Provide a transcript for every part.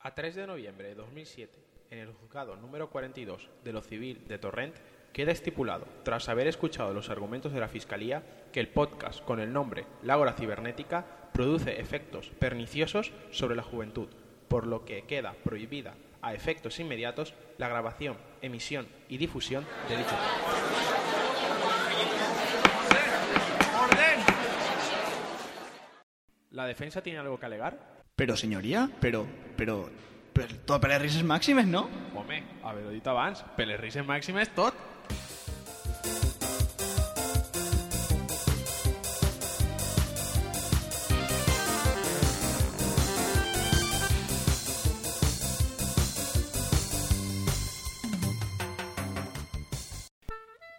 A 3 de noviembre de 2007, en el juzgado número 42 de lo civil de Torrent, queda estipulado, tras haber escuchado los argumentos de la Fiscalía, que el podcast con el nombre Lágora Cibernética produce efectos perniciosos sobre la juventud, por lo que queda prohibida a efectos inmediatos la grabación, emisión y difusión de dicho ¡Orden! ¿La defensa tiene algo que alegar? Pero, señoria, pero, pero, pero tot per les risas màximes, no? Home, haver-ho dit abans, per les risques màximes tot.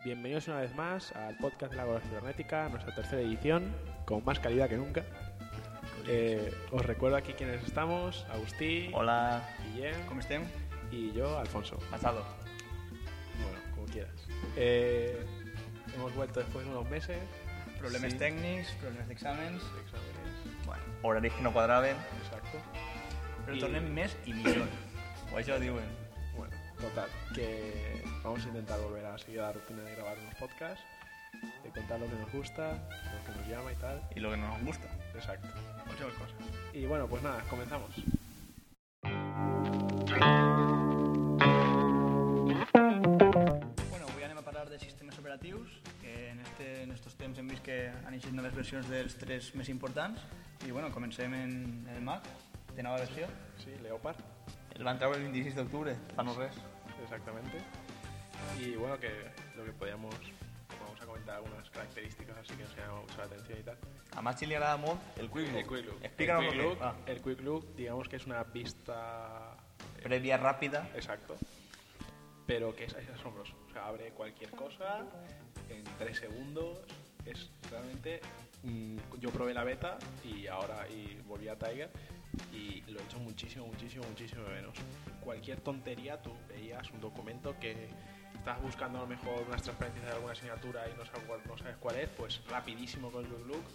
Bienvenidos una vez más al podcast de la Gora Cibernética, nuestra tercera edición, con más calidad que nunca. Eh, os recuerdo aquí quienes estamos, Agustí, Hola, Guillem com estem? y yo, Alfonso. Pasado. Bueno, como quieras. Eh, hemos vuelto después de unos meses. Problemes Sí. tècnics, problemes d'exàmens... Exámenes, Bueno, horaris que no quadraven... exacto. Però I- tornem més i millor. o això diuen. Bueno, total, que vamos a intentar volver a seguir la rutina de grabar unos podcasts, de contar lo que nos gusta, lo que nos llama y tal. I lo que no nos gusta. Exacto. Qualsevol cosa. Y bueno, pues nada, comenzamos. Bueno, avui anem a parlar de sistemes operatius, que en, este, en estos temps hem vist que han eixit noves versions dels tres més importants. I bueno, comencem en, en el Mac, de nova versió. Sí, Leopard, El van treure el 26 d'octubre, fa no res. exactamente. Y bueno, que lo que podíamos, vamos a comentar algunas características así que nos llama mucho la atención y tal. A Maxi li agrada molt el Quick Look. El Quick Look. Explica-nos el el quick Ah. que look, Ah. va. el Quick Look, digamos que es una vista Prèvia ràpida. Exacto. Pero que es, es asombroso. O sea, abre cualquier cosa en tres segundos. Es realmente. mm, yo probé la beta y ahora y volví a Tiger y lo he hecho muchísimo, muchísimo, muchísimo menos. Cualquier tontería, tú veías un documento que estás buscando a lo mejor unas transparencias de alguna asignatura y no sabes, cuál- no sabes cuál es, pues rapidísimo con Look Look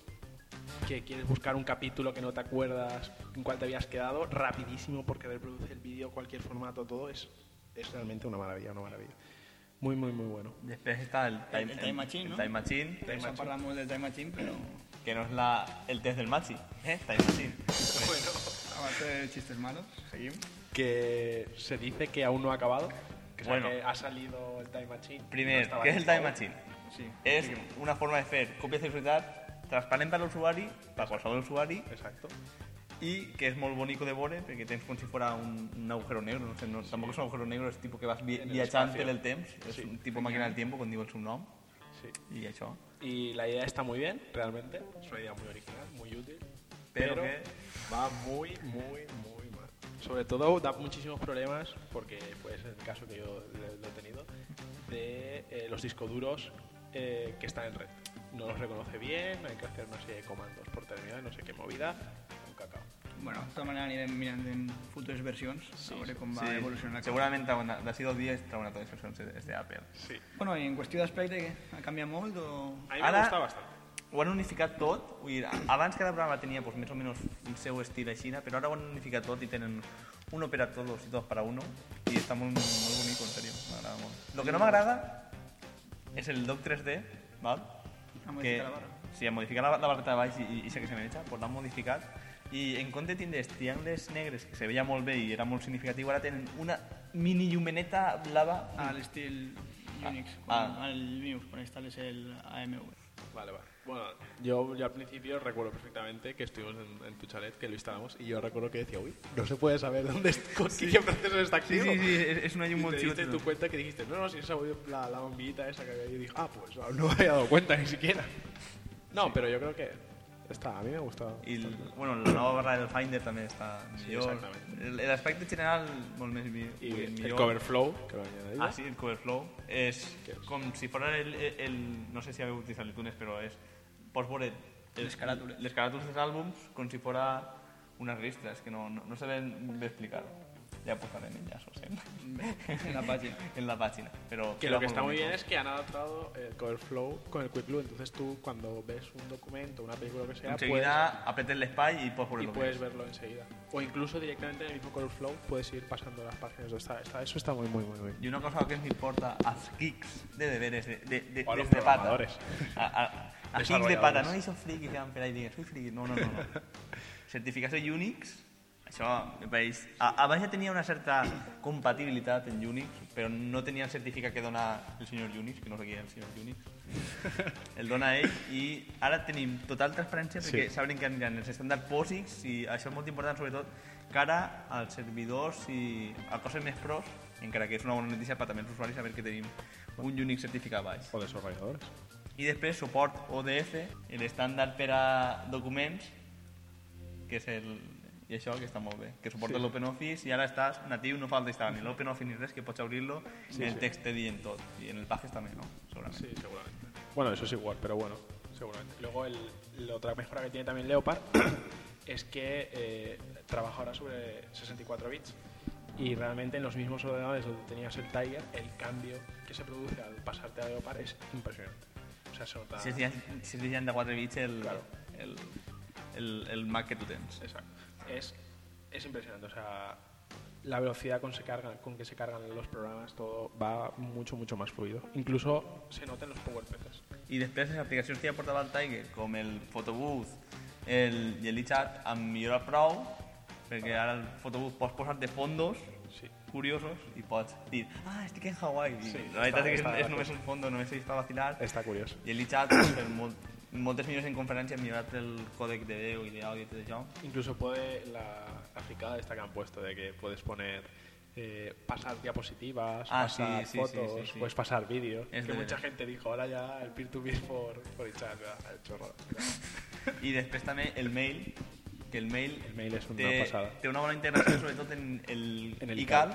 que quieres buscar un capítulo que no te acuerdas en cuál te habías quedado, rapidísimo porque reproduce el vídeo, cualquier formato, todo es, es realmente una maravilla, una maravilla. Muy, muy, muy bueno. Després està el El- el Time Machine, no? el Time Machine, Time S'ha parlat molt del Time Machine, però que no és la, el test del Maxi, eh? Time Machine. abans de xistes malos, seguim. Que se dice que aún no ha acabado, que, o sea, Bueno. que ha salido el Time Machine. no Primer, estaba què és el listo. Time Machine? Sí. És una forma de fer còpies de seguretat transparent per a l'usuari, per a qualsevol usuari, Exacto. i que és molt bonico de veure perquè tens com si fora un, un agujero negro, no sé, no, tampoc és un agujero negro, és tipus que vas vi, En el viatjant espacio. per el temps, és Sí. un tipus màquina del temps, com diu el seu nom, Sí. i això. Y la idea está muy bien, realmente. Es una idea muy original, muy útil. Pero que- va muy, muy, muy mal. Sobre todo da muchísimos problemas, porque pues en el caso que yo le- lo he tenido, de eh, los discos duros eh, que están en red. No los reconoce bien, hay que hacer una serie de comandos por terminal, no sé qué movida, un cacao. Bueno, de tota manera anirem mirant en futures versions, a veure com va evolucionar. la cosa. segurament trauen, d'ací dos dies trauen a totes les versions d'Apple. Sí. Bueno, i en qüestió d'aspecte, què? ha canviat molt o... A mí me Ahora- gusta bastante. ho han unificat tot, vull dir, abans cada programa tenia doncs, més o menys un seu estil així, però ara ho han unificat tot i tenen un opera todos i dos para uno i està molt, molt bonic, en sèrio, m'agrada molt. Lo que no m'agrada és el doc 3D, val? Ha modificat la barra. Sí, han modificat la, la barra de baix i, i, i sé que se m'echa, pues l'han modificat i en compte de tindre els triangles negres que se veia molt bé i era molt significatiu, ara tenen una mini llumeneta blava A l'estil Unix, Ah, quan, ah. al Linux, quan instal·les el AMV. Vale, vale. Bueno, yo, yo al principio recuerdo perfectamente que estuvimos en, en tu chalet, que lo instalamos, y yo recuerdo que decía, uy, no se puede saber dónde es- con qué proceso está Sí, activo. sí, sí, és, és una Y llum te molt diste xuleta. tu cuenta que dijiste, no, no, si esa la, la bombillita esa que había ahí", y dije, ah, pues no me había dado cuenta ni siquiera. No, pero yo creo que está, a mí me ha gustado. I el, bueno, la nova barra del Finder també està Sí, millor. exactament. El- L'aspecte general molt més Y mi, vull dir, el, millor. Coverflow, que lo había añadido. Ah, sí, el cover flow. És Què és? com si fora el, el, el... No sé si heu utilitzat l'iTunes, però és... Pots veure el- Les caràtules. les caràtules dels àlbums com si fora unes ristres, que no, no, no sabem bé explicar-ho. Ja posarem enllaços en, en la pàgina. en la pàgina. Però Que lo que está muy bien es que han adaptado el cover flow con el quick look. Entonces tú cuando ves un documento, una película o lo que sea, Enseguida apretes l'espai i pots puedes, y ponerlo bé. puedes verlo enseguida. O incluso directamente en el mismo cover flow puedes ir pasando las páginas. Está- está- eso está muy, muy, muy bien. Y una cosa que me importa a geeks de deberes, de, de, de, O a los desde pata. programadores. A, a- a geeks de Desarrolladores. pata, no hi són friquis que van per ahí dient, soy friki. No, no, no. no. Certificació Unix, això em pareix... A, abans ja tenia una certa compatibilitat en Unix, però no tenia el certificat que dona el senyor Unix, que no sé qui és el senyor Unix. El dona ell i ara tenim total transparència Sí. perquè saben que aniran els estàndards POSIX i això és molt important sobretot cara als servidors i a coses més pros, encara que és una bona notícia per també els usuaris saber que tenim un Unix certificat baix. O desarrolladores. I després suport ODF, l'estàndard per a documents, que és el... I això, que està molt bé, que suporta Sí. l'OpenOffice i ara estàs natiu, no falta instal·lar ni l'OpenOffice ni res, que pots obrir-lo, Sí, en el sí. text te diuen tot, i en el pages també, no? Segurament. Sí, seguramente. Bueno, eso es igual, pero bueno, seguramente. Luego, el, la otra mejora que tiene también Leopard es que eh, trabaja ahora sobre 64 bits y realmente en los mismos ordenadores donde tenías el Tiger, el cambio que se produce al pasarte a Leopard es impresionante. O sea, se nota... Si és, de- si és de 64 bits el, Claro. el, el, el Mac que tu tens. Exacto. Es, es impresionante. O sea, la velocidad con, se cargan, con que se cargan los programas, todo va mucho, mucho más fluido. Incluso se nota en los PowerPCs. I després les aplicacions que ja portava el Tiger, com el Photobooth el, i el iChat, han millorat prou, perquè ara el Photobooth pots posar de fondos Sí. curiosos i pots dir, ah, estic en Hawaii. I Sí, la està- veritat és que està és, és graciós. només un fondo, només serveix per vacilar. Está curioso. I el iChat, doncs, per molt, moltes millors en conferència, han millorat el còdec de veu i d'àudio i tot això. Incluso puede la, la fricada esta que han puesto de que puedes poner eh, pasar diapositivas, Ah, pasar sí, sí, sí, fotos, sí, sí. puedes pasar vídeos. Es que de mucha veras. gente dijo ahora ya el peer to peer por, por echar el chorro. I després també el mail, que el mail, El mail és una té, passada. té una bona integració sobretot en el, En el ICAL,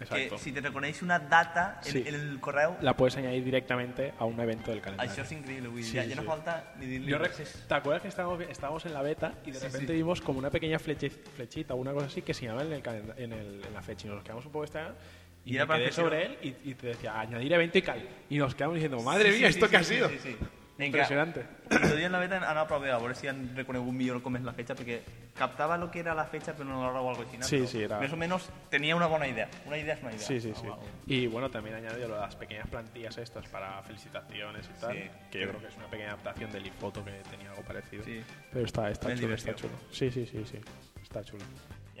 Exacto. que si te reconeix una data en, Sí. en el correu, La puedes añadir directamente a un evento del calendario. això és increïble, vull dir, Sí, ja, ja sí. no falta ni dir-li Yo rec- res. ¿Te acuerdas que estábamos, vi- estábamos en la beta y de Sí, repente sí. vimos como una pequeña fleche- flechita o una cosa así que señalaba en, el calenda- en, el- en la fecha y nos quedamos un poco extrañados Y y, era me para quedé empezar. sobre él y, y te decía añadir evento y cal y nos quedamos diciendo madre Sí, mía sí, esto sí, que ha sí, sido Sí, sí, sí. impresionante Encara, el dia en la beta anava a provar a veure si han reconegut millor com és la fecha, perquè captava el que era la fecha però no l'hora o alguna cosa així. Sí, però sí, era- Més o menys tenia una bona idea. Una idea és una idea. sí sí Ah, sí va, va. y bueno también añadió las pequeñas plantillas estas para felicitaciones y tal Sí. que yo creo que es una pequeña adaptación del ifoto que tenía algo parecido Sí. pero está está Es chulo está divertido. chulo sí sí sí sí está chulo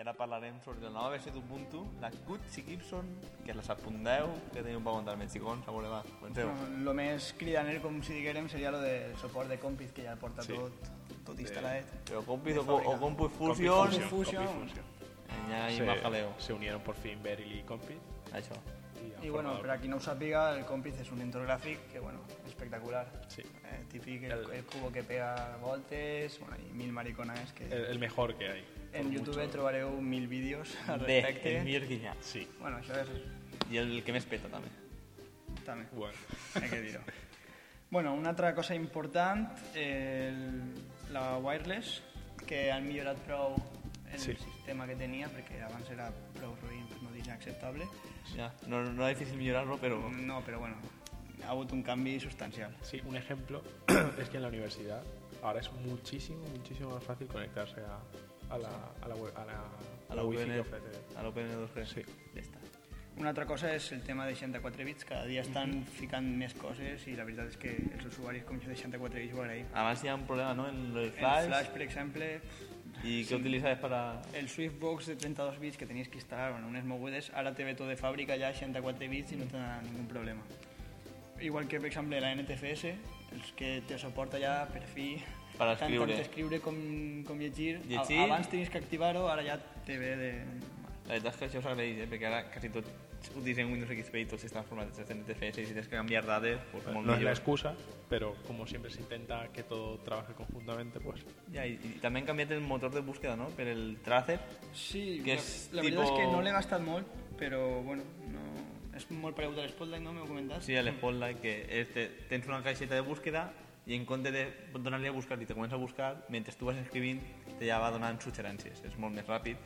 I ara parlarem sobre la nova versió d'Ubuntu, la Gucci Gibson, que les apunteu, que teniu per aguantar més xicons, a veure, va, comenceu. Bueno, lo més cridaner, com si diguérem, seria lo de suport de Compis, que ja el porta Sí. tot, tot instal·lat. Però Compis o, fàbrica. o Compus Fusion, Compus Fusion. Confusion. allà hi va jaleo, se unieron por fin Beryl y Compit això. Y, han I bueno, formado- per a qui no ho sàpiga, el Compis és un entorn gràfic que, bueno, espectacular. Sí. Eh, típic, el, El- el cubo que pega voltes, bueno, y mil mariconas que... el, el mejor que hay. en por YouTube mucho. trobareu mil vídeos al De, respecte. el millor guinyà. Sí, Bueno, això és... I el que més peta, també. també. bueno. Hay que dir-ho. Bueno, una altra cosa important, el, la wireless, que han millorat prou el Sí. sistema que tenia, perquè abans era prou ruïn, per no dir acceptable. Ja, no, no era difícil millorar-lo, però... No, però bueno, ha hagut un canvi substancial. Sí, un ejemplo es que en la universidad ahora es muchísimo, muchísimo más fácil conectarse a, a la, a la, web- a la, A la E. wifi VPN. que ofrece. A l'OpenN2G. Sí. Ja està. Una altra cosa és el tema de 64 bits, cada dia estan ficant més coses i la veritat és que els usuaris com jo de 64 bits ho agraïm. Abans hi ha un problema, no?, en el Flash. flash. El Flash, per exemple, I què utilitzes per a... el Swiftbox de 32 bits que tenías que instalar en unas mogudes, ahora te ve todo de fábrica ya 64 bits y no te da ningún problema. Igual que, per exemple, la NTFS, els que te soporta ja per fi Per tant, tant escriure. escriure com, com llegir. A- Llegir. Abans tenies que activar-ho, ara ja te ve de... La veritat és que això s'agraeix, eh? perquè ara quasi tot utilitzem Windows XP i tots estan formats en NTFS i si tens que canviar dades, doncs molt No es la millor. excusa, pero como siempre se intenta que todo trabaje conjuntamente, pues Ja, i, I també han canviat el motor de búsqueda, no?, per el Tracer. Sí, Que la, és la veritat és que tipo- no l'he gastat molt, però bueno, no... és molt pareu de l'Spotlight, no? M'heu comentat? Sí, a l'Spotlight, que és, te, tens una caixeta de búsqueda i en compte de donar-li a buscar i te comença a buscar, mentre tu vas escrivint, te ja va donant suggerències. És molt més ràpid.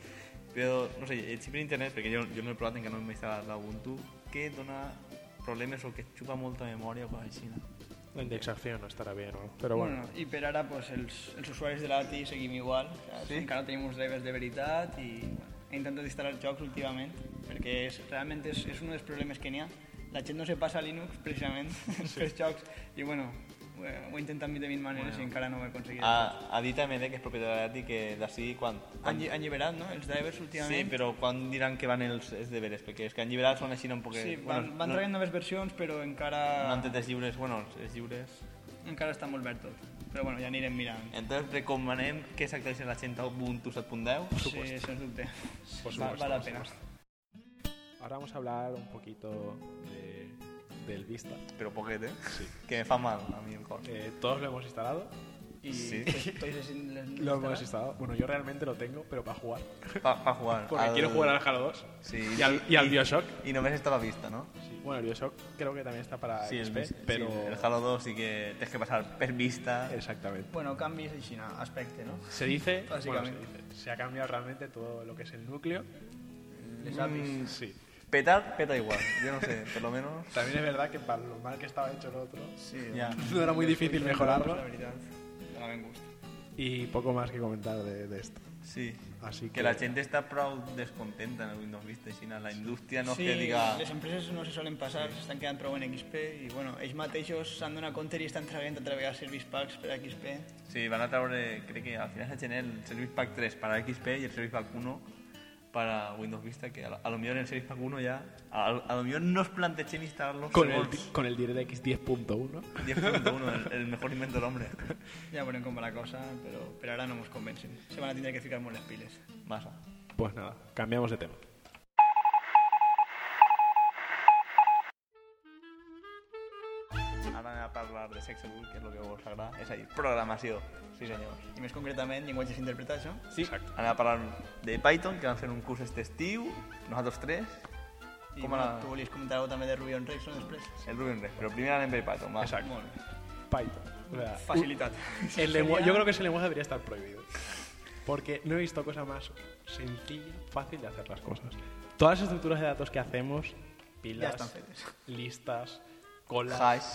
Però, no sé, sempre internet, perquè jo, jo no he provat encara no m'he instal·lat la Ubuntu, que dona problemes o que et xupa molta memòria o coses així. La indexación no estará bien, ¿no? Pero bueno, Bueno, I per ara pues, els, els usuaris de l'ATI seguim igual, saps? Sí? encara no tenim uns drivers de veritat i bueno, he intentat instal·lar jocs últimament perquè és, realment és, és un dels problemes que n'hi ha. La gent no se passa a Linux precisament sí. pels jocs i bueno, eh, ho he intentat de mil maneres bueno. i encara no ho he aconseguit. Ha, ha dit també eh, que és propietat de que d'ací quan... Han, lli- han lliberat, no?, els drivers Sí, últimament. però quan diran que van els, els deberes? Perquè els que han lliberat són així un poc... Sí, van, van no, traient noves versions, però encara, Ah. no han tret els lliures, bueno, els- els lliures... encara està molt verd tot. Però bueno, ja anirem mirant. Entonces recomanem que s'actualitzi la 100 Ubuntu 7.10. Sí, sens dubte. Por Va, supuesto, val la por pena. ahora vamos a hablar un poquito de- del Vista. Però poquet, eh? Sí. Que me fa mal a mi el cor. Eh, todos lo hemos instalado. I Sí. Toys les- les Lo instal·lar? hemos instalado. Bueno, yo realmente lo tengo, pero para jugar. Pa, pa jugar. Porque quiero jugar al Halo 2 Sí. y al, y al Bioshock. I només està a la vista, no? Sí, Bueno, el Bioshock creo que también está para XP, el, Ah, pero... sí, el Halo 2 sí que tens que passar per vista. Exactamente. Bueno, canvis així, no? aspecte, no? Se dice, Básicamente. bueno, se dice, se ha cambiado realmente todo lo que es el núcleo. Les APIs. Mm, Sí. petar, peta igual. Yo no sé, por lo menos... También es verdad que para lo mal que estaba hecho el otro, Pues, Sí, Ja. no era muy difícil mejorarlo. La veritat, dona ben gust. Y pues, poco más que comentar de, de esto. Sí. Así que, Que la gent està prou descontenta en el Windows Vista, així, la indústria no és sí, que diga... les empreses no se solen passar, s'estan quedant prou en XP i bueno, ells mateixos s'han donat compte i estan traient a través de service packs per a XP. Sí, van a traure, crec que al final de gener, el Service Pack 3 para XP y el Service Pack 1 para Windows Vista, que a lo, a lo mejor en el Service Pack 1 ya, a, lo- a lo mejor nos plantechen instalarlos con, el, con el DirectX 10.1. 10.1, el, el mejor invento del hombre. Ja veurem com va la cosa, però per ara no ens convencen. Se van a tindre que ficar molt les piles. Masa. Pues nada, cambiamos de tema. Ahora me voy a hablar de sexo, que es lo que vos agrada, es ahí, programación. Sí, señor. I més concretament, llenguatges interpretats, no? Sí, ahora a hablar de Python, que van a hacer un curso este estiu, nosotros tres, I Com bueno, a la- tu volies comentar alguna cosa també de Ruby on Rails, no, després? el Ruby on Rails, pero primero en Python, va. Exacto. Molt bé. Python. O sea, Facilitat. el lengua- Seria- yo creo que ese lenguaje debería estar prohibido. Porque no he visto cosa más sencilla, fácil de hacer las cosas. Todas las estructuras de datos que hacemos, Ja pilas, estan fetes. listas, colas, Hash.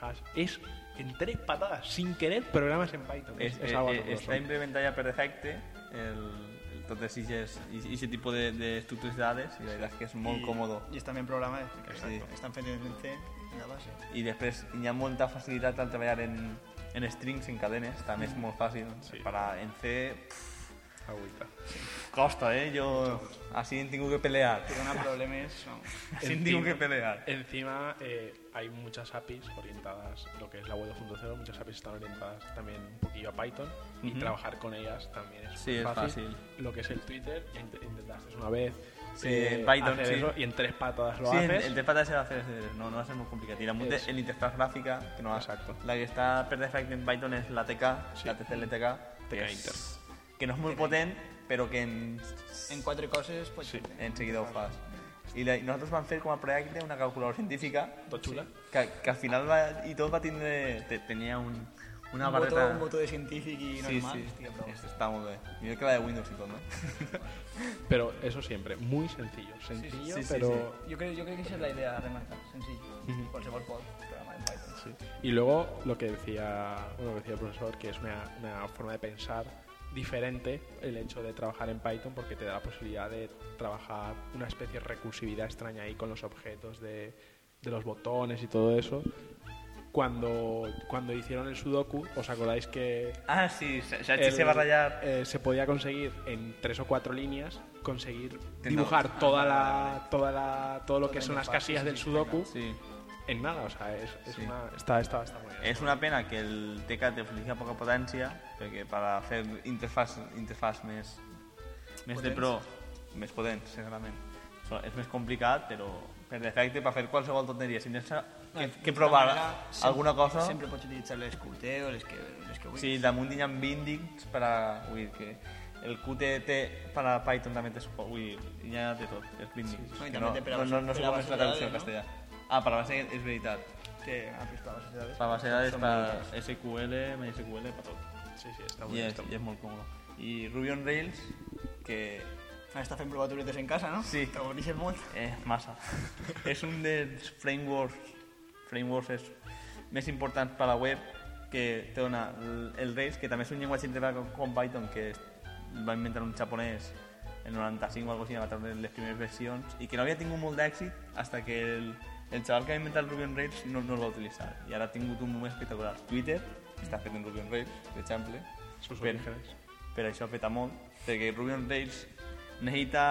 hash, es en tres patadas, sin querer, programas en Python. es, Es, es algo eh, eh, asombroso. està implementat ja per defecte el, el tot és aquest tipus de, de estructures de dades i la veritat és que és molt I... còmode. I estan ben programades, perquè Sí. estan fetes en C, en la base. I després hi ha molta facilitat al treballar en, en strings, en cadenes, també és molt fàcil. Sí. Per a, en C pff, Agüita. costa, eh? Jo així en tinc que pelear. Que dona problemes, no. Així en tinc que Encima. pelear. Encima eh, hay muchas APIs orientadas, lo que es la web 2.0, muchas APIs están orientadas también un poquillo a Python y Ujú. trabajar con ellas también es, Sí, muy es fácil. fácil. Lo que es el Twitter, ya int- intentaste eso una vez. eh, Sí, en Python, hacer sí. eso y en tres patadas lo Sí, el, haces. el teclat ha de ser hacer ese- no, no va a ser muy complicado. Y la multi- Es. el interfaz gráfica, que no va- Exacto. La que está per defecto en Python es la TK, Sí. la TCLTK, que, TK es- Inter. que no es muy potente, pero que en, En quatre coses pots Sí. fer. enseguida ho fas. I la, i nosaltres vam fer com a projecte una calculadora científica Tot xula. que, que al final va, i tot va tindre... Te, tenia un, una un barreta... botó, un botó de científic i Sí, normal, sí. hòstia, però... Es- Està molt bé. Millor que la de Windows i tot, no? Pero eso siempre, muy sencillo. Sencillo, sí, sí, pero. Jo crec, jo crec que això és la idea a remarcar, senzill. Qualsevol pot programar en Python. Sí. Y luego lo que decía, bueno, lo que decía el profesor, que es una, una forma de pensar diferente el hecho de trabajar en Python porque te da la posibilidad de trabajar una especie de recursividad extraña ahí con los objetos de, de los botones y todo eso. Cuando, cuando hicieron el sudoku, ¿os acordáis que Ah, sí, Sachi el- se va a rayar... eh, se podía conseguir en tres o cuatro líneas conseguir Intentado. dibujar toda la, toda la, todo lo Toda que la son las interfaz, casillas sí, del sí, sudoku Sí. en nada, o sea, es, es Sí. una, está, está, está muy bien. És una pena que el TK te ofereixi poca potència, perquè per a fer interfàs, interfàs més, més de pro, més potent, segurament, so- és més complicat, però per defecte, per fer qualsevol tonteria, si tens que, que provar alguna cosa... tota Sempre pots utilitzar les QT o les que, les que vulguis. Sí, damunt hi ha bindings per a... Vull dir que el QTT per a Python també té suport, vull dir, hi ha de tot, els bindings. sí. No, i que també té per a no, no, base- no sé per a com base és la de traducció en dades, castellà. Ah, per a base és veritat. Té apis per a base de dades. Per a base de dades, Són boniques. per a SQL, MySQL, per tot. Sí, sí, está muy Y bien. es, está muy y es muy cómodo. Y Ruby on Rails, que Està fent provaturetes en casa, no? Sí. Te avorreixes molt. Eh, massa. és un dels frameworks, frameworks és més importants per a la web que te dona el- el Rails, que també és un llenguatge integral com- com Python, que es- va inventar un japonès en 95 o alguna cosa així, en les primeres versions, i que no havia tingut molt d'èxit hasta que el, el xaval que va inventar el Ruby on Rails no, no el va utilitzar. I ara ha tingut un moment espectacular. Twitter està fet en Ruby on Rails, per exemple. Sus Per- orígenes. per això peta molt, perquè Ruby on Rails necessita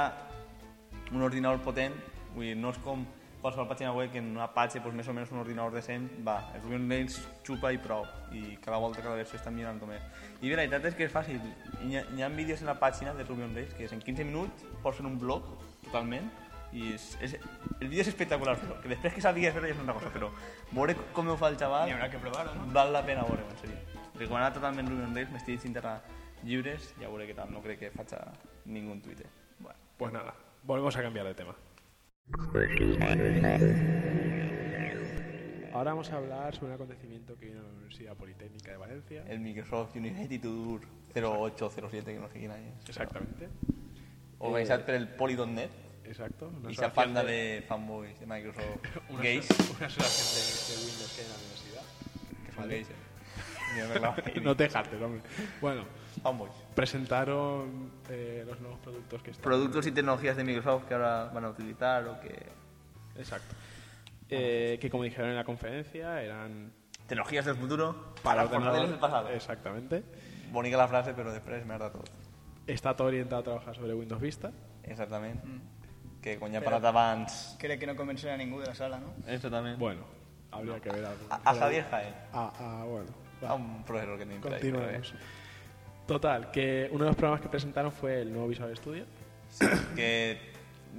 un ordinador potent, vull dir, no és com qualsevol pàgina web que en una patxa doncs, més o menys un ordinador decent, va, el Ruby on Rails xupa i prou, i cada volta cada versió està millorant més. I bé, la veritat és que és fàcil, hi ha, hi ha vídeos en la pàgina de Ruby on Rails que és en 15 minuts pots fer un blog totalment, i és, és, el vídeo és espectacular, però que després que sàpigues fer-ho ja és una cosa, però veure com ho fa el xaval... N'hi haurà que provar-ho, no? Val la pena veure-ho, en sèrio. Recomanar totalment Ruby on Rails, m'estic intentant llibres, ja veuré què tal, no crec que faci ningú en Twitter. Bueno. Pues nada, volvemos a cambiar de tema. Ahora vamos a hablar sobre un acontecimiento que vino en la Universidad Politécnica de Valencia. El Microsoft University Tour 0807, que no sé quin any és. Exactamente, Organitzat per el Poly.net, exacto. una i sa asociación panda de fanboys de Microsoft una, gays, una asociación de, de Windows que hay en la universidad. que són gays, eh? Mira, me clavo. No te jactes, hombre. Bueno, Fanboys. presentaron eh, los nuevos productos que están. Productos i tecnologies de Microsoft que ara van a utilitzar o que... Exacto. Eh, que como dijeron en la conferencia, eran Tecnologies del futuro para ordenadores del pasado. Exactamente. Bonica la frase, però després merda tot. Está todo orientado a trabajar sobre Windows Vista. Exactament. Que quan ja he Però- parlat abans... Crec que no convencerà ningú de la sala, no? Exactament. Bueno, habría que ver algo. A, a Javier Jaén, Ah, ah, bueno. va, a un profesor que tenim per ahí, continuemos. Total, que uno de los programas que presentaron fue el nuevo Visual Studio. però bé. Que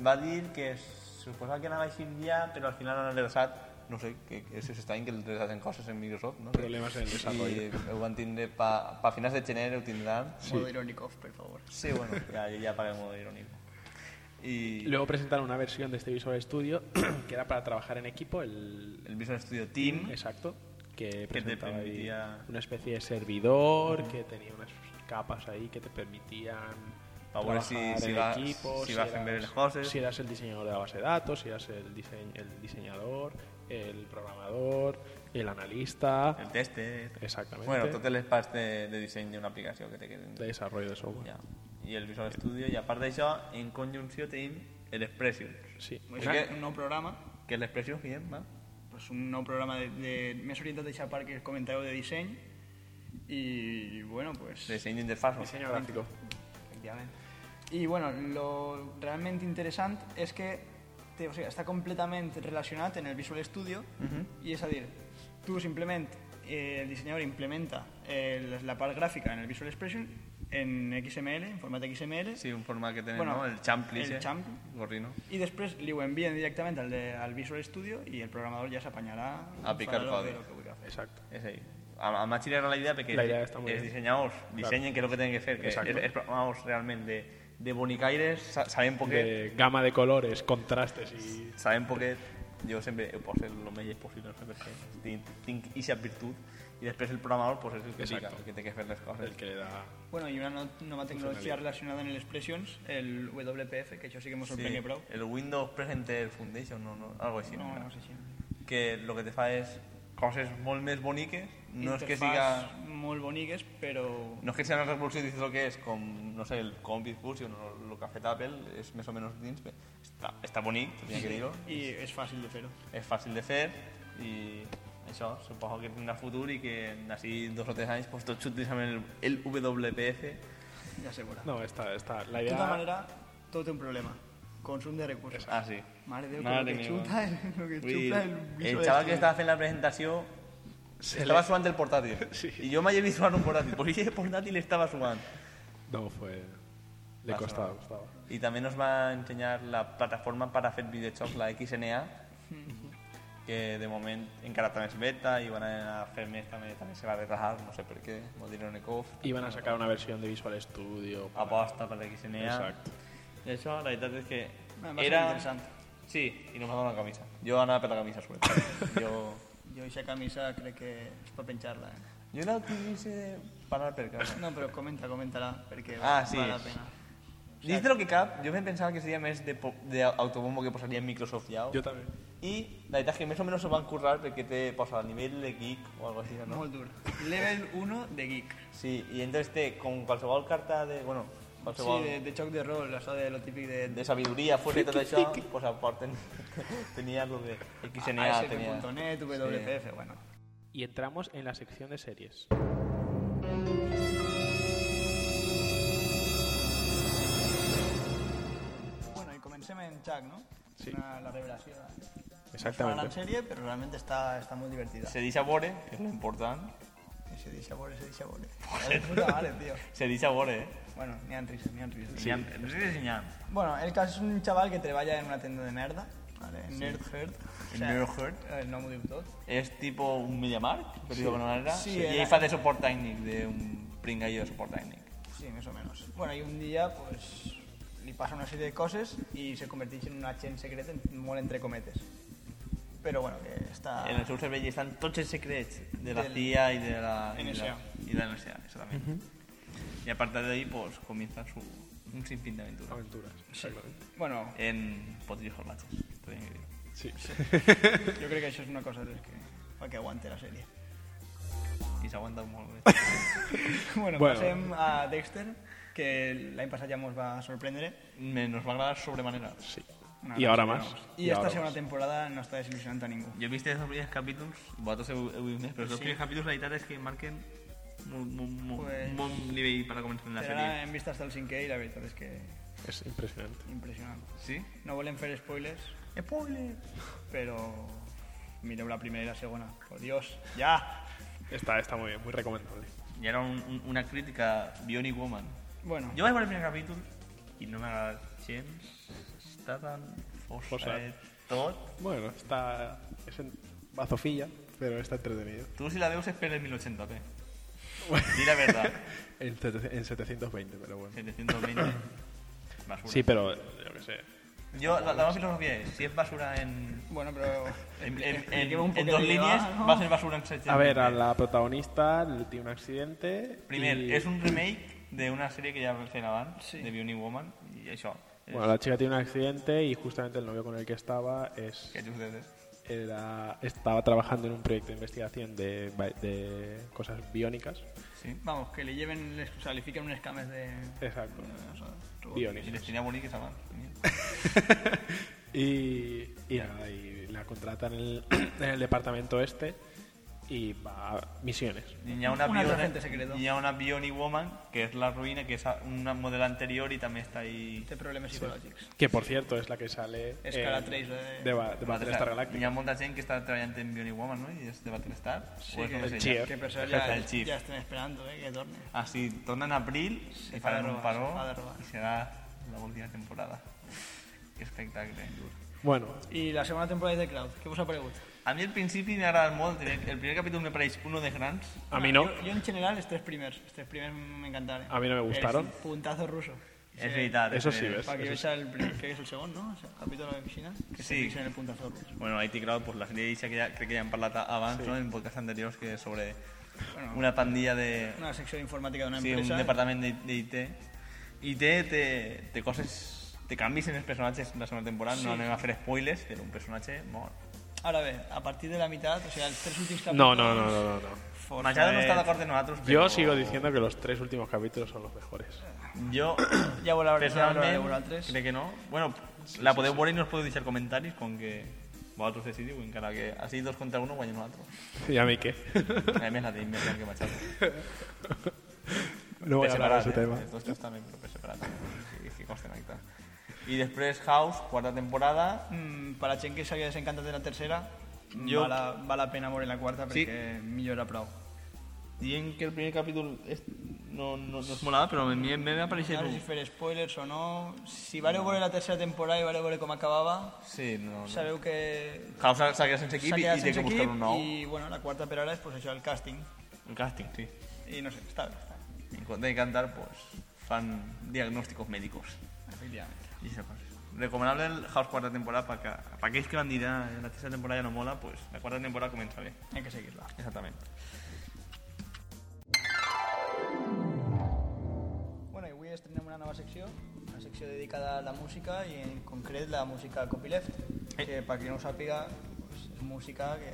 va dir que suposava que anava així un dia, però al final han enredat no sé, que, que és estrany que enredasen coses en Microsoft, no? sé. Problemes en el desarrollo. I ho van tindre pa, pa finals de gener, ho tindran. Sí. Modo Ironikov, per favor. Sí, bueno, ja, ja paguem molt irònic. I Luego presentaron una versión de este Visual Studio que era para trabajar en equipo, el el Visual Studio Team, exacto, que te presentaba ahí permitía- una especie de servidor que tenía unas capas ahí que te permitían Pa ver si- trabajar si en vas- equipo, si vas a ver eras, las cosas. si eras el diseñador de la base de datos, si eras el, dise- el diseñador, el programador, el analista, el tester... exactamente, Bueno, totes les parts de, de disseny d'una aplicació que te queden. de desarrollo de software. Ja. I el Visual Studio, i a part d'això, en conjunció tenim l'Expressions. Sí. És que- un nou programa, Que és l'Expressions, Guillem, va? pues un nou programa de, de, més orientat a deixar part que comentàveu de disseny i, bueno, pues... De disseny d'interfaços. Diseño gráfico. Efectivament. I bueno, lo realment interessant és que té, o sigui, està completament relacionat en el Visual Studio i és a dir, tu simplement eh, el dissenyador implementa eh, la part gràfica en el Visual Expression en XML, en format XML Sí, un format que tenen, Bueno, no? El Champli, el ese. Champli. Gorrino. i després li ho envien directament al, de, al Visual Studio i el programador ja s'apanyarà A picar farà lo codi. que- lo que vulgui fer. Exacto. És ahí. A, a Machi li agrada la idea perquè La idea està molt els bien. dissenyadors dissenyen que és el que tenen que fer, que Exacto. és, és programadors realment de, de bonicaires, sa- sabem poquet, De gama de colores, contrastes y sabem poquet, jo sempre ho poso el millor possible, no sé per què, tinc, tinc ixa virtut, i després el programador pues, és el que Exacto. pica, el que té que fer les coses. el que le da Bueno, i una no, nova tecnologia relacionada en el Expressions, el WPF, que això sí que m'ho sorprèn Sí, sí. prou. el Windows Presenter Foundation, no, no, algo així. No, era? no sé si... Que el que te fa és coses molt més boniques, no és que siga... interfaz molt boniques, però... No es que sea una revolución diciendo que es con, no sé, el Compit Fusion o lo que hace Apple, es más o menos dins, pe- está, está bonito, tenía que dir-ho, I és fàcil de fer-ho. és fàcil de fer i això, suposo que tindrà futur i que en així dos o tres anys pues, tots utilitzem el, el WPF. Ja se veurà. No, está, está. La De idea tota manera, tot té un problema. Consum de recursos. Ah, sí. Mare de Déu, Mare que el que meva. xuta, el el que Vull dir, xuta el este. el Visual xaval que Studio. estava fent la presentació estava suant del portàtil. I jo mai he vist suant un portàtil, però aquest portàtil estava suant. No, fue. Le Pasa costaba, nada. costaba. Y también nos va a enseñar la plataforma para hacer videochocs, la XNA, que de momento encara también es beta y van a hacer mes también, también se va a retrasar, no sé por qué, Modino Nekov. Iban a sacar una versión de Visual Studio. para- Aposta para la XNA. Exacto. De hecho, la verdad es que Ah, va a ser era... interesante. Sí, y nos mandó una camisa. Yo anava per la camisa, suelta. Yo... Jo aquesta camisa crec que és per penjar-la. Eh? Yo la utilicé para per casa. No, però comenta, comenta-la, perquè Ah, val sí. la pena. Dice lo que cap, jo em pensava que seria més d'autobombo que posaria Microsoft ja. Yo también. I la veritat és que més o menys ho van currar perquè te posa el nivell de geek o alguna cosa així, no? Molt dur. Level 1 de geek. Sí, i entonces té com qualsevol carta de... Bueno, Sí, qualsevol... de, de xoc de rol, això de lo típic de... de sabiduría fuera de todo eso, pues aporten. tenía algo de XNA, tenía. ASM.net, WPF, bueno. Y entramos en la sección de series. Bueno, i comencem en Chuck, no? Sí. Una, la revelació. Una gran Exactamente. sèrie, però realment està, està molt divertida. Se dice Bore, que es lo importante. I Se deixa veure, se deixa veure. Vale, puta mare, tio. Se dice Bore, eh. Bueno, n'hi ha risques, n'hi ha risques. Sí. No sé diseñar. Bueno, el cas és un xaval que treballa en una tenda de merda, vale? Sí. Nerd Herd. O sea, eh, Nerd Herd. El nom ho diu tot. Es tipo un MediaMark, pero digo que no era. Sí, y ahí era. fa de support technic, de un pringallo de support technic. Sí, més o menos. Bueno, i un dia, pues, li passa una sèrie de coses i se converteix en un agent secret en- molt entre cometes. Però bueno, que està... En el seu cervell hi estan tots els secrets de la Del- CIA y de la y de NSA. la- y de la NSA, exactamente. Y a partir de ahí, pues comienza su, un sinfín de aventuras. Aventuras. Exactamente. Bueno, En potrillos hornachos, podríem dir. Sí. jo crec que això és una cosa de les que fa que aguante la sèrie. I s'aguanta molt bé. Bueno. Bueno, bueno, passem a Dexter, que l'any passat ja mos va ¿eh? sorprendre. Me, nos va a agradar sobremanera. Sí. Una Y gran ahora sèrie, más. vamos. Y I esta ahora segona más. temporada no està desil·lusionant a ningú. Jo he vist els primers capítols, vosaltres heu, heu vist més, però els dos Sí. primers capítols la veritat és que marquen molt, molt, molt, Pues- molt nivell per a començar la Però ara sèrie. hem vist fins al cinquè i la veritat és que Es impresionante. impressionant. Sí? No volem fer spoilers, Spoiler! però mireu la primera i la segona. Por Dios, ja! Está, está muy bien, muy recomendable. I era un, un, una crítica Bionic Woman. Bueno, Jo vaig veure el primer capítol i no m'ha agradat gens. Està tan Fosat. fosat tot. Bueno, está. Es en bazofilla, pero está entretenido. Tu si la veus és per el 1080p. Di la veritat. En, sete- en 720, pero bueno. 720. Basura. Sí, pero yo qué sé. Jo, la, la meva filosofia és, si és basura en, bueno, però... En, en- en- expliquem en un poquet dos de què líneas va, no? va a ser basura en 720. A ver, a la protagonista le tiene un accidente. Primer, y- es un remake de una serie que ya mencionaban, Sí. de Beauty Woman, y eso. es- Bueno, la chica tiene un accidente y justamente el novio con el que estaba es que sucede. era, estaba trabajando en un proyecto de investigación de, ba- de cosas biónicas. Sí. Vamos, que le lleven, les, o sea, le fiquen unes cames de... Exacto. o sea, robots. Y Biónicas. les tenía bonito que se llaman. Y, y nada, y la contratan en el, en el departamento este y va a misiones. Y ya una, Un alto Bionic- agente secreto. y ya una Bionic Woman, que es la ruina, que es a- una modelo anterior y también está ahí. Té problemes psicològics. Que por cierto es la que sale Es en- Cara 3 de- de, Ba- de Battlestar Y ya Galactica. mucha gente que está trabajando en Bionic Woman, ¿no? Y es de Battlestar. Sí, o es que, donde se Chief. llama. que per això El ja, jefe, el chief. ja estem esperant eh, que torni. Así, Ah, torna en abril, Se y fa de farán un robar, se fa de paro, robar. y será la última temporada. Qué espectáculo. Bueno, I la segona temporada de The Cloud, què vos ha paregut? A mi al principi m'ha agradat molt, el el primer capítol me pareix uno de grans, a mí no. Jo, jo en general els tres primers, els tres primers m'encantaran. A mi no me gustaron. ¿eh? El puntazo ruso. és veritat. eh. Eso és sí, veritat. ves. Para Eso que veis el primer, que es el segundo, ¿no? O sea, el capítulo de piscina, que Sí. se fixa en el puntazo ruso. Bueno, IT Crowd, pues, la sèrie eixa que ja, crec que ja hem parlat abans, no?, en podcasts anteriors, que és sobre Bueno, una pandilla de... Una secció informàtica d'una sí, un empresa. departament de- d'IT. IT té, té coses... Té canvis en els personatges la segona temporada, no anem a fer spoilers, però un personatge mor. Ara bé, a partir de la mitad, o sea, els tres últims capítols... No, no, no, no, no, no. Machado eh, no està d'acord amb nosaltres, però... Yo sigo diciendo que los tres últimos capítulos son los mejores. Jo, Ja ho valoraré, ja ho valoraré personalment, vosaltres. crec que no. Bueno, la podeu veure i no us podeu deixar comentaris, com que vosaltres decidiu, encara que així dos contra uno guanyem nosaltres. ¿Y a mí qué? A més, la tenim més gran que Machado. No voy a hablar de ese eh? tema. Els dos xats també, però per separat. Sí, que consten acte. I després House, quarta temporada. Mm, per la gent que s'havia desencantat de la tercera, Jo- jo... val, la, val la pena veure la quarta Sí. perquè millora prou. Dient que el primer capítol és... no, no, no es molava, però a mi em va aparèixer... No sé si fer spoilers o no. Si vareu veure la tercera temporada i vareu veure com acabava, Sí, no, no. sabeu que House s'ha s'ha quedat sense s'ha equip i, quedat i té sense que buscar un nou. i bueno, la quarta per ara és pues, això, el càsting. El càsting, sí. I no sé, està bé, està bé, En compte de cantar, pues, fan diagnósticos médicos. efectivament. Y esa cosa. Recomendable el House cuarta temporada para que, para aquellos que van a decir, "Ah, la tercera temporada ya no mola, pues la cuarta temporada comienza bien. Hay que seguirla. Exactamente. Bueno, i avui estrenem una nova secció, una secció secció dedicada a la música i en concret la música copyleft, que per qui no ho sàpiga doncs, és música que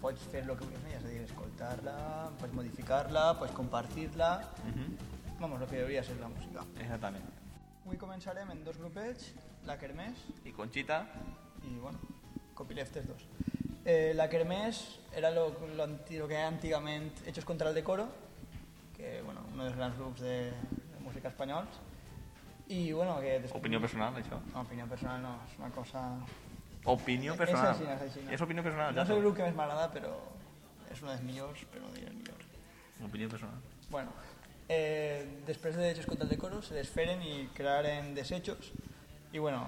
pots fer el que vulguis amb ella, és a dir, escoltar-la, pots modificar-la, pots compartir-la, Mhm. vamos, el que hauria de ser la música. Exactament. Avui començarem en dos grupets, la Kermés I Conchita, y bueno, copyleftes dos. Eh, la Kermés era lo, lo, anti- lo que era antiguamente Hechos contra el Decoro, que bueno, uno de los grandes grupos de, de música españols. Y bueno, que después... opinió personal, això. No, opinió personal no, es una cosa... Opinió És personal. així, és així, no? És opinió personal, No ja. és el grup que més m'agrada, però és una dels millors, però no diré el millor. Opinió personal. Bueno, eh, després de Hechos contra el Decoro se desferen y crearen Desechos. Y bueno,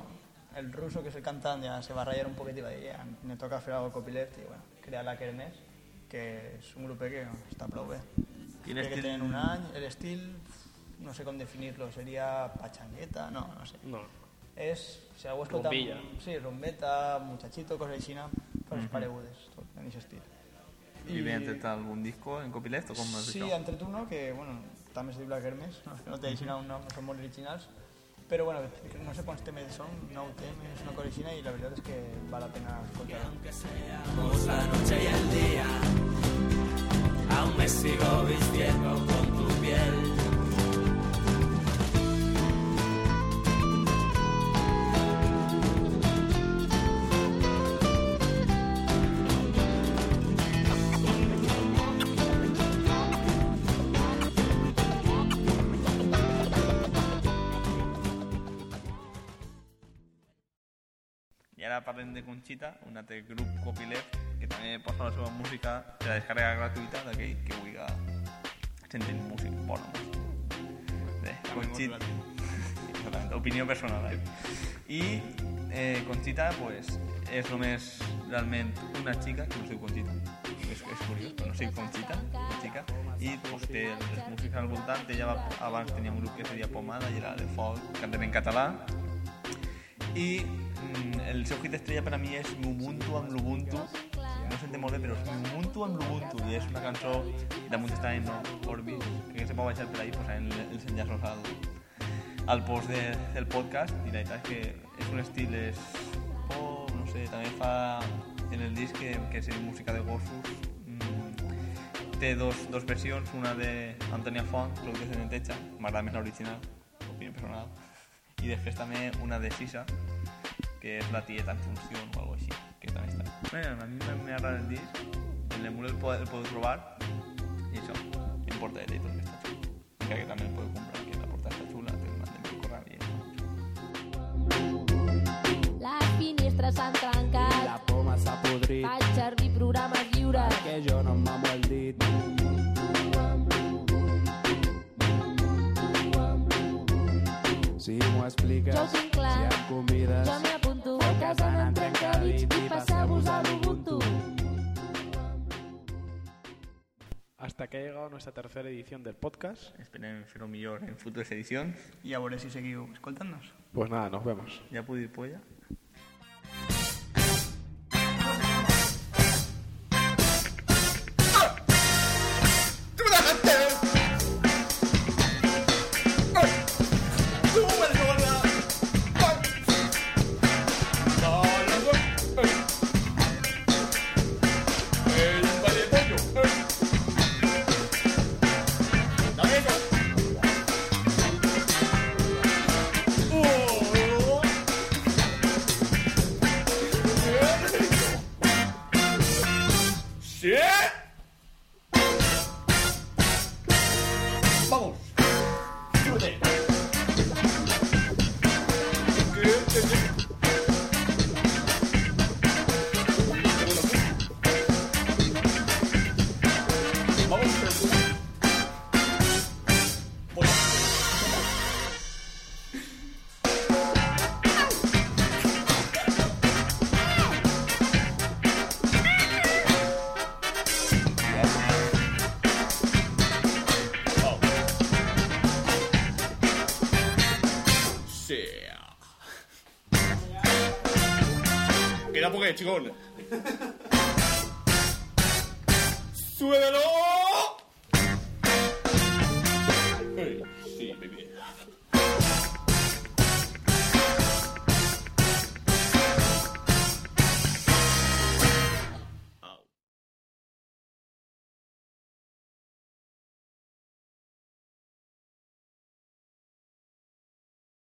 el ruso que es el cantante ya se va a rayar un poquito y va a decir, "Ya, me toca hacer algo copyleft y bueno, crea la Kermés, que es un grupo que está prou bé. Quin Crec estil- Que tenen un any, el estil, no sé com definir-lo, seria patxangueta, no, no sé. No. És, si algú escolta... Rumbilla. Sí, rumbeta, muchachito, coses així, coses pues paregudes, tot en aquest estil. I, I bé, han tret algun disco en copyleft o com és Sí, això? entre turno, que bueno, també es diu la Kermes, no, és que no té així un nom, no són molt originals, però bueno, no sé quants temes són, nou temes, una cosa així, i la veritat és que val la pena escoltar. la noche y el día. Aún me sigo vistiendo con tu piel. I ara parlem de Conchita, un altre grup copyleft que també posa la seva música de la descàrrega gratuïta d'aquell que vulgui sentir músic porno. Bé, Conchita... Exactament, opinió personal. Eh? I eh, Conchita, pues, és només realment una xica que no es diu Conchita. És, és curiós, però no sé Conchita, una xica. I pues, té les músiques al voltant. Ella va, abans tenia un grup que es deia Pomada i era de folk, cantant en català. I mm, el seu hit estrella per a mi és Ubuntu amb l'Ubuntu. No s'entén molt bé, però és Ubuntu amb l'Ubuntu. I és una cançó damunt està en Orbis, que se pot baixar per ahí, pues, posant els enllaços al, al post de, del podcast. I la veritat és que és un estil, és pop, no sé, també fa en el disc que, que és música de gossos. Mm, té dos, dos versions, una de Antonia Font, Club de Cementeja, m'agrada més l'original, opinió personal, i després també una de Sisa, que és la tieta en funció o alguna així, que també està. Bé, a mi m'ha- m'agrada el disc, en l'emul el, pod- el podeu trobar, i això, en portadeta i tot que està xula. Encara que també el podeu comprar, que la portada està xula, té el mandem per correu i això. Les finestres s'han trencat, La poma s'ha podrit faig servir programes lliures. que jo no em mamo el dit. Si m'ho expliques, Jo ho tinc clar. si em convides, Jo m'hi apunto, a casa no em trenca dits i passeu-vos a l'Ubuntu. Hasta que ha llegado nuestra tercera edición del podcast. Esperem fer-ho millor en futures edicions. I a veure si seguiu escoltant-nos. Pues nada, nos vemos. Ja puc dir polla. Queda poco de chicón. ¡Súbelo! Hey, sí, baby.